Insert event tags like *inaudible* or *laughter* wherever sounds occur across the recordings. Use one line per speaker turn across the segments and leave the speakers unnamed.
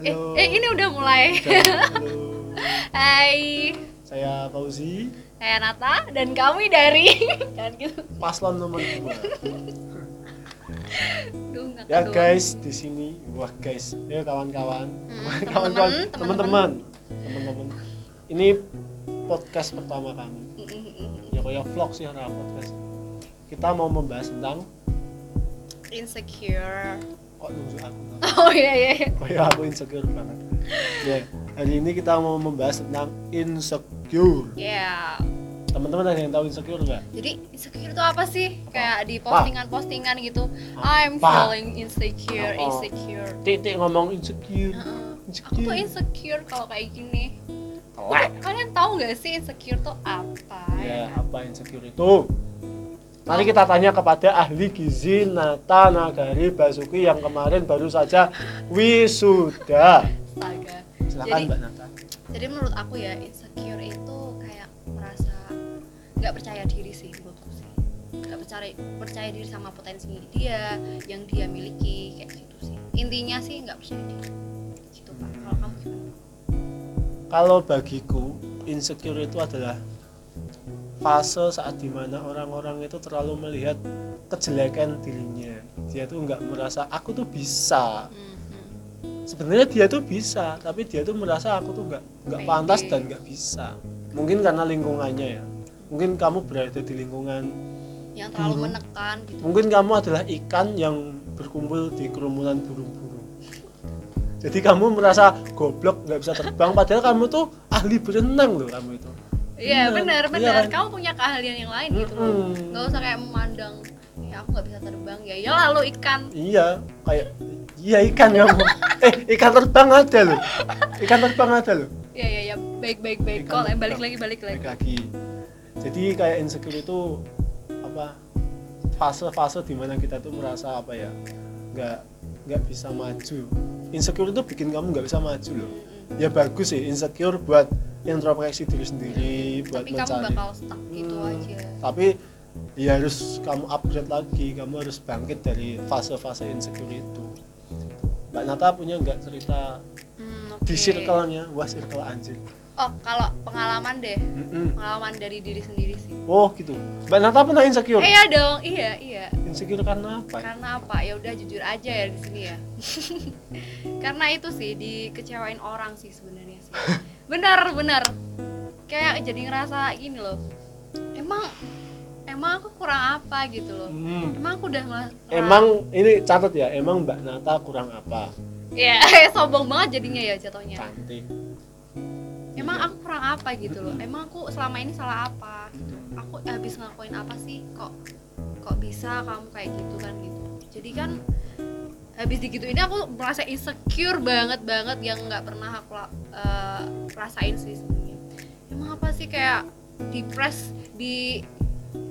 Eh,
Halo.
eh, ini udah mulai.
Halo.
Hai,
Saya Fauzi,
saya Nata dan kami dari *laughs* dan gitu.
paslon nomor 2.
Duh, nggak
Ya
keduan.
guys, di sini wah guys, ya kawan-kawan,
Hmm,
*laughs* kawan-kawan,
teman-teman,
teman-teman, teman-teman. Ini podcast pertama kami.
Mm, mm, mm.
Ya kayak vlog sih nah, podcast. Kita mau membahas tentang
Insecure.
kok nunjuk aku.
Oh iya iya. iya.
Kayak aku insecure banget. Ya, hari ini kita mau membahas tentang insecure.
Ya.
Teman-teman ada yang tahu insecure nggak?
Jadi insecure itu apa sih? Kayak di
Apa?
postingan-postingan gitu.
Apa?
I'm feeling insecure,
Oh.
insecure.
Titik ngomong insecure.
Heeh. Aku tuh
Insecure.
insecure kalau kayak gini.
Telek.
Kalian tahu nggak sih insecure tuh apa?
Ya, apa insecure itu? Mari kita tanya kepada ahli gizi Nata Nagari Basuki yang kemarin baru saja wisuda.
Astaga.
Silakan
Jadi-
Mbak Nata.
jadi menurut aku ya insecure itu kayak merasa nggak percaya diri sih menurutku sih nggak percaya percaya diri sama potensi dia yang dia miliki kayak gitu sih intinya sih nggak percaya diri gitu pak kalau kamu gimana
Kalau bagiku insecure itu adalah fase saat dimana orang-orang itu terlalu melihat kejelekan dirinya. Dia tuh nggak merasa aku tuh bisa.
Mm-hmm.
Sebenarnya dia tuh bisa, tapi dia tuh merasa aku tuh nggak nggak
Pede.
pantas dan nggak bisa. Mungkin karena lingkungannya ya. Mungkin kamu berada di lingkungan
yang terlalu
Burung.
menekan gitu
Mungkin kamu adalah ikan yang berkumpul di kerumunan burung-burung. Jadi kamu merasa goblok nggak bisa terbang, padahal kamu tuh ahli berenang loh kamu itu.
iya benar
Benar, iya
benar
kan? Mm-hmm.
kamu punya keahlian yang lain gitu
Mm-mm.
nggak usah kayak memandang ya aku nggak bisa terbang ya ya lalu ikan
Iya, kayak iya ikan kamu. *laughs* eh ikan terbang ada loh. Ikan terbang ada loh.
ya ya ya baik baik baik
Ikan
kok eh, balik
terbang.
lagi balik lagi
Balik lagi. Jadi kayak insecure itu apa fase-fase dimana kita tuh merasa apa ya nggak nggak bisa maju. Insecure itu bikin kamu nggak bisa maju loh.
Mm-mm.
ya bagus sih insecure buat introspeksi diri sendiri buat
tapi kamu
mencari
bakal stuck gitu
Hmm,
aja
tapi ya harus kamu upgrade lagi kamu harus bangkit dari fase-fase insecure itu Mbak Nata punya nggak cerita
Hmm,
di
oke.
circle-nya wah circle anjir
Oh, kalau pengalaman deh,
Mm-mm.
pengalaman dari diri sendiri sih.
oh gitu Mbak Nata pernah insecure
Eh ya dong, iya iya.
insecure karena apa
Karena apa? Ya udah jujur aja ya di sini ya. *laughs* Karena itu sih dikecewain orang sih sebenarnya
*laughs*
sih. Benar benar. Kayak jadi ngerasa gini loh. Emang emang aku kurang apa gitu loh.
Hmm.
Emang aku udah ngelas
emang ini catat ya emang Mbak Nata kurang apa
ya *laughs* sombong banget jadinya ya jatuhnya.
cantik
Emang aku kurang apa gitu loh. Emang aku selama ini salah apa? gitu. aku habis ngelakuin apa sih kok kok bisa kamu kayak gitu kan gitu jadi kan habis digituin aku merasa insecure banget banget yang nggak pernah aku la- eh, rasain sih sebenarnya emang apa sih kayak depres di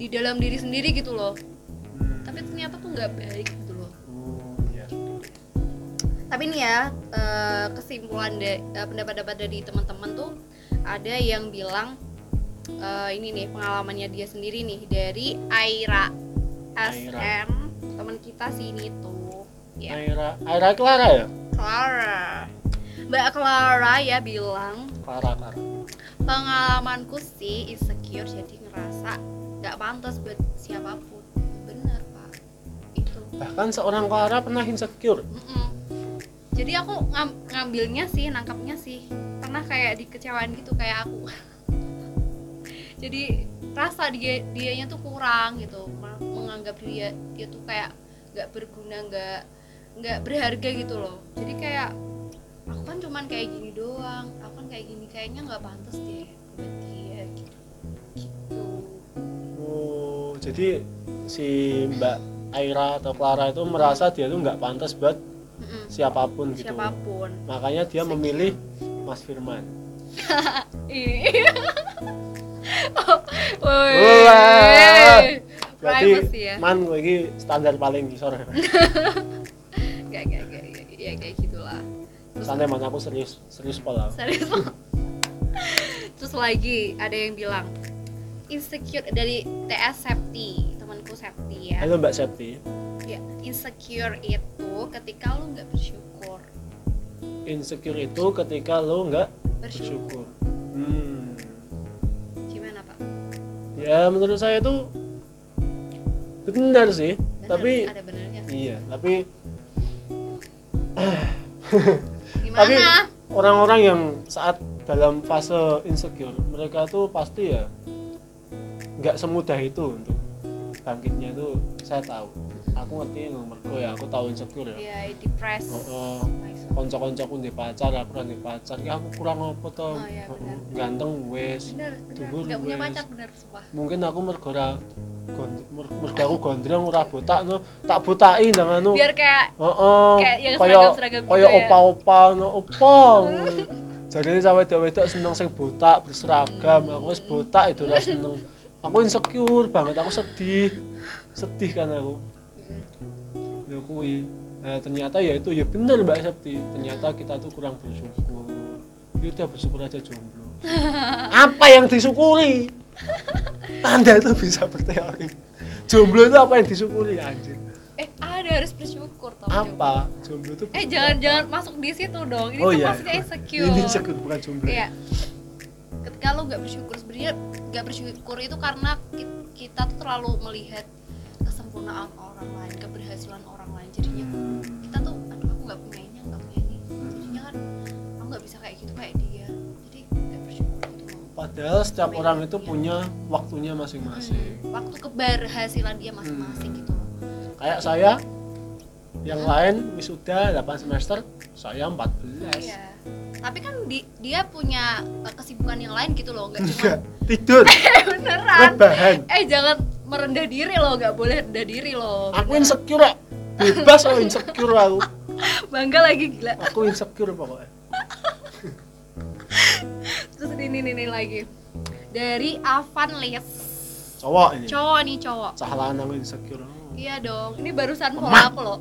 di dalam diri sendiri gitu loh
Hmm.
tapi ternyata tuh nggak baik gitu loh
Oh, iya.
tapi nih ya eh, kesimpulan da- eh, pendapat-pendapat dari teman-teman tuh ada yang bilang eh, ini nih pengalamannya dia sendiri nih dari Aira
Aira.
SM teman kita sini tuh ya
Aira Aira Clara ya
Clara Mbak Clara ya bilang
Clara Clara
pengalamanku sih insecure jadi ngerasa nggak pantas buat siapapun bener pak itu
bahkan seorang Clara pernah insecure
Mm-mm. Jadi aku ngam- ngambilnya sih, nangkapnya sih pernah kayak dikecewaan gitu kayak aku. *laughs* Jadi rasa dia dianya tuh kurang gitu, ma- menganggap dia dia tuh kayak nggak berguna, nggak nggak berharga gitu loh. Jadi kayak aku kan cuman kayak gini doang, aku kan kayak gini kayaknya nggak pantas deh buat dia gitu. Gitu.
oh jadi si Mbak Aira atau Clara itu merasa dia tuh nggak pantas buat
Mm-mm.
siapapun gitu
Siapapun.
makanya dia memilih Mas Firman
Ih. Iya. *laughs* Oh, woi.
Wah.
Privacy ya.
man gue ini standar paling ngisor
*laughs* Gak, gak, gak, gak, ya kayak gitulah. Terus
santai man aku serius serius pola
serius. *laughs* Terus lagi ada yang bilang insecure dari TS Septi, temanku Septi ya.
halo Mbak Septi
ya. Insecure itu ketika lu nggak bersyukur.
insecure itu ketika lo nggak
bersyukur
bersyukur hmm.
gimana pak
ya menurut saya itu benar sih
Bener,
tapi
ada benernya sih
iya tapi
gimana
tapi orang-orang yang saat dalam fase insecure mereka tuh pasti ya nggak semudah itu untuk bangkitnya itu saya tahu aku ngerti nomor dua ya aku tahu insecure ya
ya depres
oh, oh
Myself.
konco-koncoku ndek pacar aku ora ndek pacar ya aku kurang apa to
Oh, iya, benar.
ganteng wes
bener bener
Dhuwur
nggak punya
wes.
pacar bener sumpah
mungkin aku mergo ora gond- mer- mergo aku gondrong ora botak no tak botaki ndang anu
biar kayak
Heeh.
Kayak yang seragam-seragam gitu
kaya
ya.
opa-opa no opo.
*laughs*
Jadi sampe wedok-wedok seneng sing botak berseragam, aku wis botak itu ora seneng. Aku insecure banget, aku sedih. Sedih kan aku. Ya kuwi. Nah, ternyata ya itu ya bener Mbak Septi. Ternyata kita tuh kurang bersyukur. Ya udah bersyukur aja
*laughs*
jomblo. Apa yang disyukuri? Anda itu bisa berteori. Jomblo itu apa yang disyukuri anjir?
eh ada harus bersyukur tau
Apa? Jomblo itu
eh jangan jangan masuk di situ dong ini
Oh,
tuh
iya. *laughs*
maksudnya insecure Iya.
Ini insecure bukan jomblo.
kayak ketika lo nggak bersyukur sebenarnya nggak bersyukur itu karena ki- kita tuh terlalu melihat kesempurnaan orang lain keberhasilan orang lain jadinya
Hmm.
kita tuh aduh aku nggak punya ini aku nggak punya ini jadinya kan aku nggak bisa kayak gitu kayak dia jadi nggak bersyukur gitu
Padahal setiap orang itu punya waktunya masing-masing.
Hmm, waktu keberhasilan dia masing-masing
Hmm.
gitu loh
Kayak saya yang lain wisuda 8 semester, saya 14. *laughs*
iya tapi kan di- dia punya eh, kesibukan yang lain gitu loh nggak
Enggak,
*laughs* cuma
tidur,
Iya. beneran
rebahan.
eh jangan merendah diri loh nggak boleh rendah diri loh
Aku insecure, Rek. bebas aku insecure aku.
bangga lagi gila
Aku insecure pokoknya.
terus ini nih, nih lagi dari Avan Lis
Cowok ini.
cowok nih cowok
Cah lanang insecure. Oh.
iya dong ini barusan follow
Lemah.
aku loh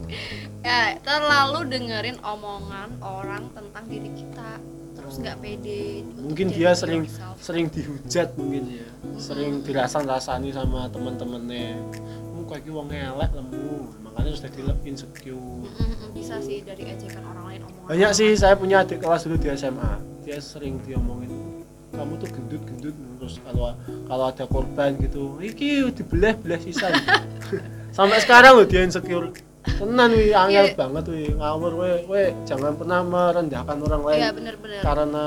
*laughs* ya terlalu dengerin omongan orang tentang diri kita terus nggak pede untuk
Mungkin
jadi
dia
diri
sering
self.
sering dihujat mungkin ya. Sering dirasan-rasani sama teman-temannya. Kamu kayak wong elek lemu. Makanya sudah dilep insecure.
Mm-mm, bisa sih dari ejekan orang lain omongan
banyak
orang
sih saya punya adik kelas dulu di SMA dia sering diomongin kamu tuh gendut gendut terus kalau kalau ada korban gitu iki dibelah belah sisa *laughs* sampai sekarang loh dia insecure tenan wi angel
Iya.
banget wi ngawur we we jangan pernah merendahkan orang lain
iya bener-bener
karena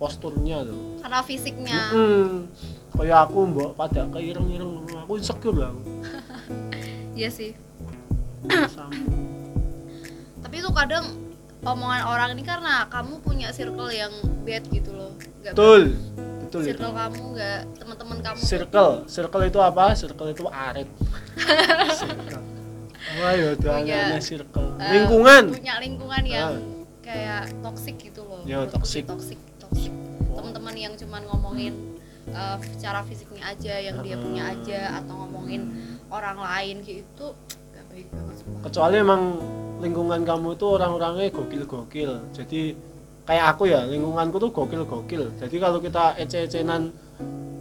posturnya loh
karena fisiknya
Mm-mm. kayak aku mbok pada keireng-ireng aku insecure lah
iya sih
Sama.
tapi itu kadang omongan orang ini karena kamu punya circle yang bad gitu loh nggak
betul betul itu
circle kamu nggak teman-teman kamu tuh
circle circle itu apa circle itu arit circle wah ya udah
Punya,
namanya circle
eh,
lingkungan
punya lingkungan yang
Ah.
kayak toksik gitu loh
Ya,
Menurutku sih
toksik.
toksik toksik teman-teman yang cuman ngomongin eh, secara fisiknya aja yang dia punya aja atau ngomongin orang lain gitu nggak baik banget sumpah
kecuali emang lingkungan kamu itu orang-orangnya gokil-gokil jadi kayak aku ya lingkunganku tuh gokil-gokil jadi kalau kita ece-ecenan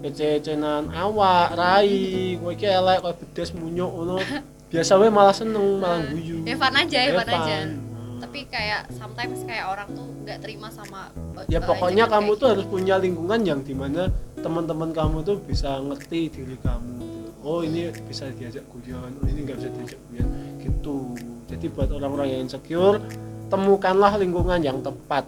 ece-ecenan awak, rai, kowe iki elek, kowe bedes munyuk ngono.
*laughs*
Biasa we malah seneng, malah guyu.
Ya, fun aja, ya, fun
fun.
aja.
Hmm.
tapi kayak sometimes kayak orang tuh nggak terima sama
ya
eh, eh,
pokoknya
ajakan
kamu
kayak
tuh
gitu. *laughs*
harus punya lingkungan yang dimana teman-teman kamu tuh bisa ngerti diri kamu oh ini bisa diajak guyon oh ini nggak bisa diajak guyon gitu jadi buat orang-orang yang insecure temukanlah lingkungan yang tepat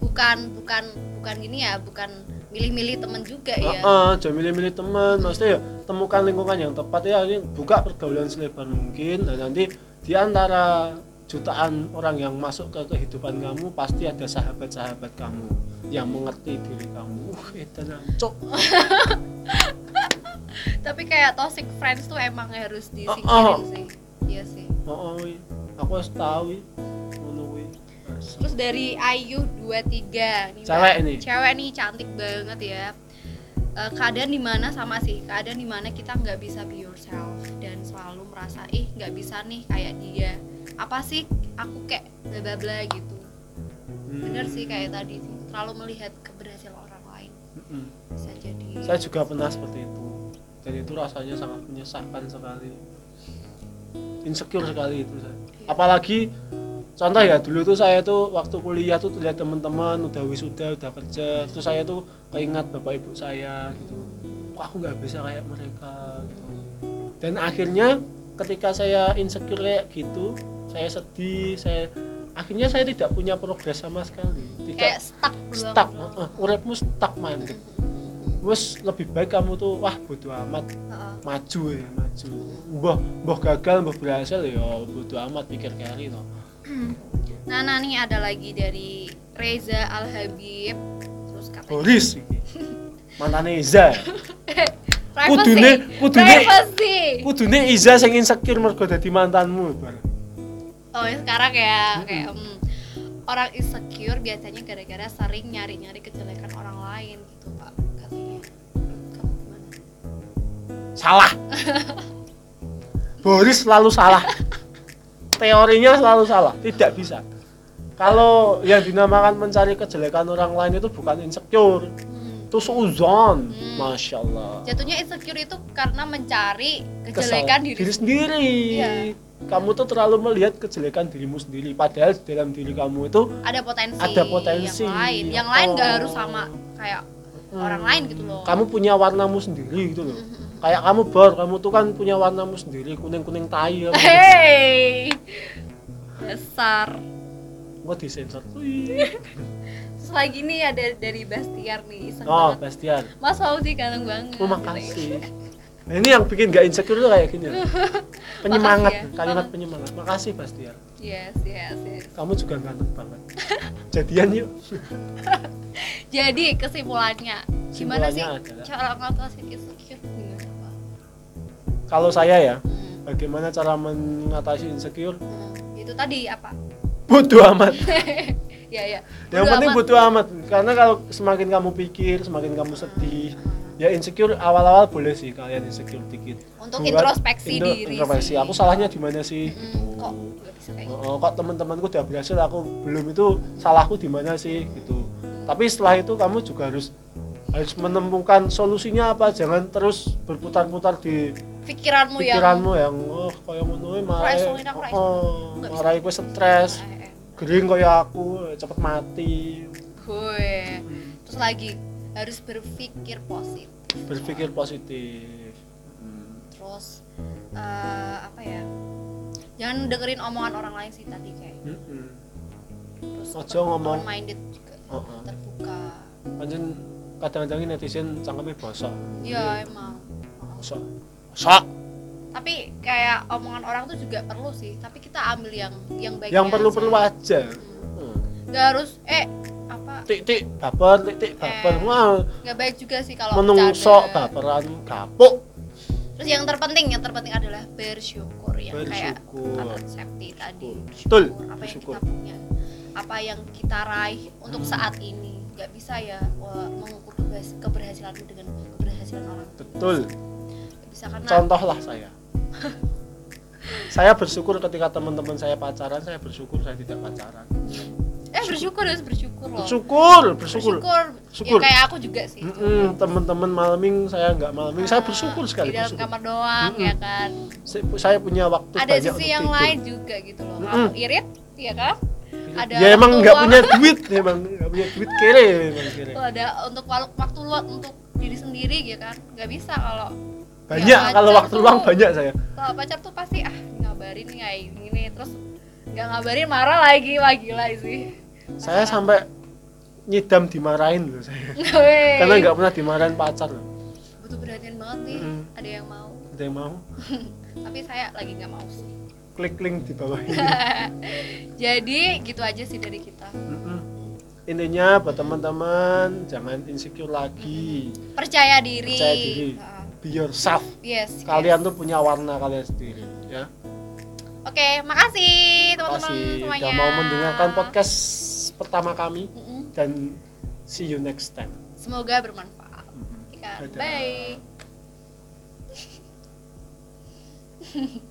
bukan bukan bukan gini ya bukan milih-milih temen juga ya
Heeh, jangan milih-milih teman maksudnya ya temukan lingkungan yang tepat ya ini buka pergaulan selebar mungkin dan nanti di antara jutaan orang yang masuk ke kehidupan kamu pasti ada sahabat-sahabat kamu yang mengerti diri kamu uh, edan, cok
tapi kayak toxic friends tuh emang harus disingkirin
Oh, oh.
sih iya sih
Oh, oh, wi. aku harus tahu wi. ngono wi.
terus dari Ayu 23 nih, Mbak.
Cewek ini.
cewek nih cantik banget ya Eh, keadaan dimana sama sih keadaan dimana kita nggak bisa be yourself dan selalu merasa ih nggak bisa nih kayak dia apa sih aku kayak bla bla bla gitu
Hmm.
bener sih kayak tadi terlalu melihat keberhasilan orang lain
Mm-mm.
bisa jadi
Saya juga pernah seperti itu. Dan itu rasanya sangat menyesakkan sekali. Insecure sekali itu saya.
Iya.
Apalagi contoh ya dulu tuh saya tuh waktu kuliah tuh lihat teman-teman udah wisuda udah kerja terus saya tuh keingat bapak ibu saya gitu kok aku nggak bisa kayak mereka gitu dan akhirnya ketika saya insecure kayak gitu saya sedih saya akhirnya saya tidak punya progres sama sekali tidak
kayak stuck doang.
stuck heeh, uripmu stuck mandek terus lebih baik kamu tuh wah bodo amat
Heeh.
maju ya maju mbah mbah gagal mbah berhasil ya bodo amat pikir kali to
Nah, nah nih ada lagi dari Reza Al Habib. Terus katanya
Boris iki mantane Iza
privacy.
Kudune- kudune-
privacy.
kudune Iza sing insecure mergo dadi mantanmu bar
Oh, yang sekarang ya kayak mm, orang insecure biasanya gara-gara sering nyari-nyari kejelekan orang lain gitu, Pak. Katanya. Kamu gimana?
salah Boris selalu salah teorinya selalu salah tidak bisa kalau yang dinamakan mencari kejelekan orang lain itu bukan insecure
Hmm.
itu suzon
Hmm.
masya Allah
Jatuhnya insecure itu karena mencari
Kesal.
kejelekan diri.
sendiri.
Iya.
Kamu tuh terlalu melihat kejelekan dirimu sendiri. Padahal di dalam diri kamu itu
Ada potensi,
Ada potensi.
yang lain. Yang lain nggak
Oh.
harus sama kayak
Hmm.
orang lain gitu loh. *laughs*
kamu punya warnamu sendiri gitu loh.
Mm-hmm.
Kayak kamu bor, kamu tuh kan punya warnamu sendiri, kuning-kuning tai. gitu.
Hei. Besar.
Gue disensor.
*laughs* Terus lagi nih ada dari Bastiar nih, iseng
Oh,
banget.
Bastian.
Mas Fauzi ganteng banget.
Terima
gitu.
kasih. Nah, ini yang bikin gak insecure tuh
*laughs*
kayak gini. Penyemangat,
Makasih ya.
kalimat
Makasih.
penyemangat. Makasih Bastian.
Yes, yes, yes.
Kamu juga ganteng banget. *laughs* Jadian yuk.
Jadi kesimpulannya, gimana sih
Kesimpulannya adalah-
cara ngatasin insecure? Gimana, Pak?
Kalau saya ya,
Hmm.
bagaimana cara mengatasi insecure?
Hmm. Itu tadi apa?
Bodoh amat.
Ya, ya.
Yang
Bodo
penting
amat.
butuh amat karena kalau semakin kamu pikir, semakin kamu sedih. Ya insecure awal-awal boleh sih kalian insecure dikit.
Untuk
Buat
introspeksi
indo-
diri
Introspeksi.
sih.
Aku salahnya di mana sih?
Hmm, kok nggak bisa kayak gitu?
Oh, kok teman-temanku udah berhasil, aku belum itu salahku di mana sih gitu. Tapi setelah itu kamu juga harus harus menemukan solusinya apa. Jangan terus berputar-putar di
Pikiranmu,
pikiranmu yang oh koyo ngono e malah
Ra iso, ra iso.
oh,
Nggak bisa.
malah kowe
yang
stres, gering koyo aku cepet mati.
Gue. Terus lagi harus berpikir positif.
berpikir positif
Terus eh, apa ya? Jangan dengerin omongan orang lain sih tadi kayak. gitu.
Mm-mm.
Terus
Ojo
open-
ngomong.
open-minded juga
Uh-uh.
terbuka.
Pancen kadang-kadang ini netizen cangkeme bosok
Iya emang.
bosok bosok
Tapi kayak omongan orang tuh juga perlu sih. Tapi kita ambil yang yang baik. ya.
yang perlu-perlu aja
Gak harus eh apa?
titik Hmm. baper titik baper
Eh,
wah
Gak baik juga sih kalau
menungso
bercanda.
baperan kapuk
Terus yang terpenting, yang terpenting adalah bersyukur ya kayak
Bersyukur.
kata Septi tadi.
Betul,
Apa yang
bersyukur.
kita punya, apa yang kita raih untuk saat ini. Gak bisa ya wah, mengukur keberhas- keberhasilanmu dengan keberhasilan orang.
betul
Gak bisa karena
contohlah
*laughs*
saya saya bersyukur ketika teman-teman saya pacaran saya bersyukur saya tidak pacaran
eh bersyukur harus bersyukur loh.
bersyukur bersyukur
Bersyukur.
Syukur.
Ya kayak aku juga sih.
Mm-mm, teman-teman malaming saya nggak malaming saya bersyukur
Ah,
sekali
Di dalam
bersyukur.
kamar doang
Mm-mm.
ya kan.
Saya- saya punya waktu
Ada
banyak
sisi
untuk
yang
tidur.
lain juga gitu loh.
Mm-mm.
Kamu irit ya kan? Ada
ya emang
waktu
nggak
luang. Iya,
punya duit emang nggak punya duit kere emang kere
Tuh ada untuk walu- waktu luang untuk diri sendiri gitu kan nggak bisa kalau
banyak
pacar
kalau waktu
tuh-
luang banyak saya
kalau pacar tuh pasti ah ngabarin nih kayak gini terus nggak ngabarin marah lagi wah gila sih *laughs*
saya sampai nyidam dimarahin loh saya
Weh,
karena nggak pernah dimarahin pacar loh
butuh perhatian banget nih
Mm-mm.
ada yang mau
ada yang mau
tapi saya lagi nggak mau sih
klik link di bawah ini
*laughs* jadi gitu aja sih dari kita
Mm-mm. intinya buat teman-teman jangan insecure lagi
percaya diri,
Percaya diri.
Ah,
be yourself
yes
kalian
yes.
tuh punya warna kalian sendiri ya
oke makasih
terima
teman-teman
kasih
semuanya
udah mau mendengarkan podcast pertama kami
Mm-mm.
dan see you next time
semoga bermanfaat Oke, kan?
Dadah.
bye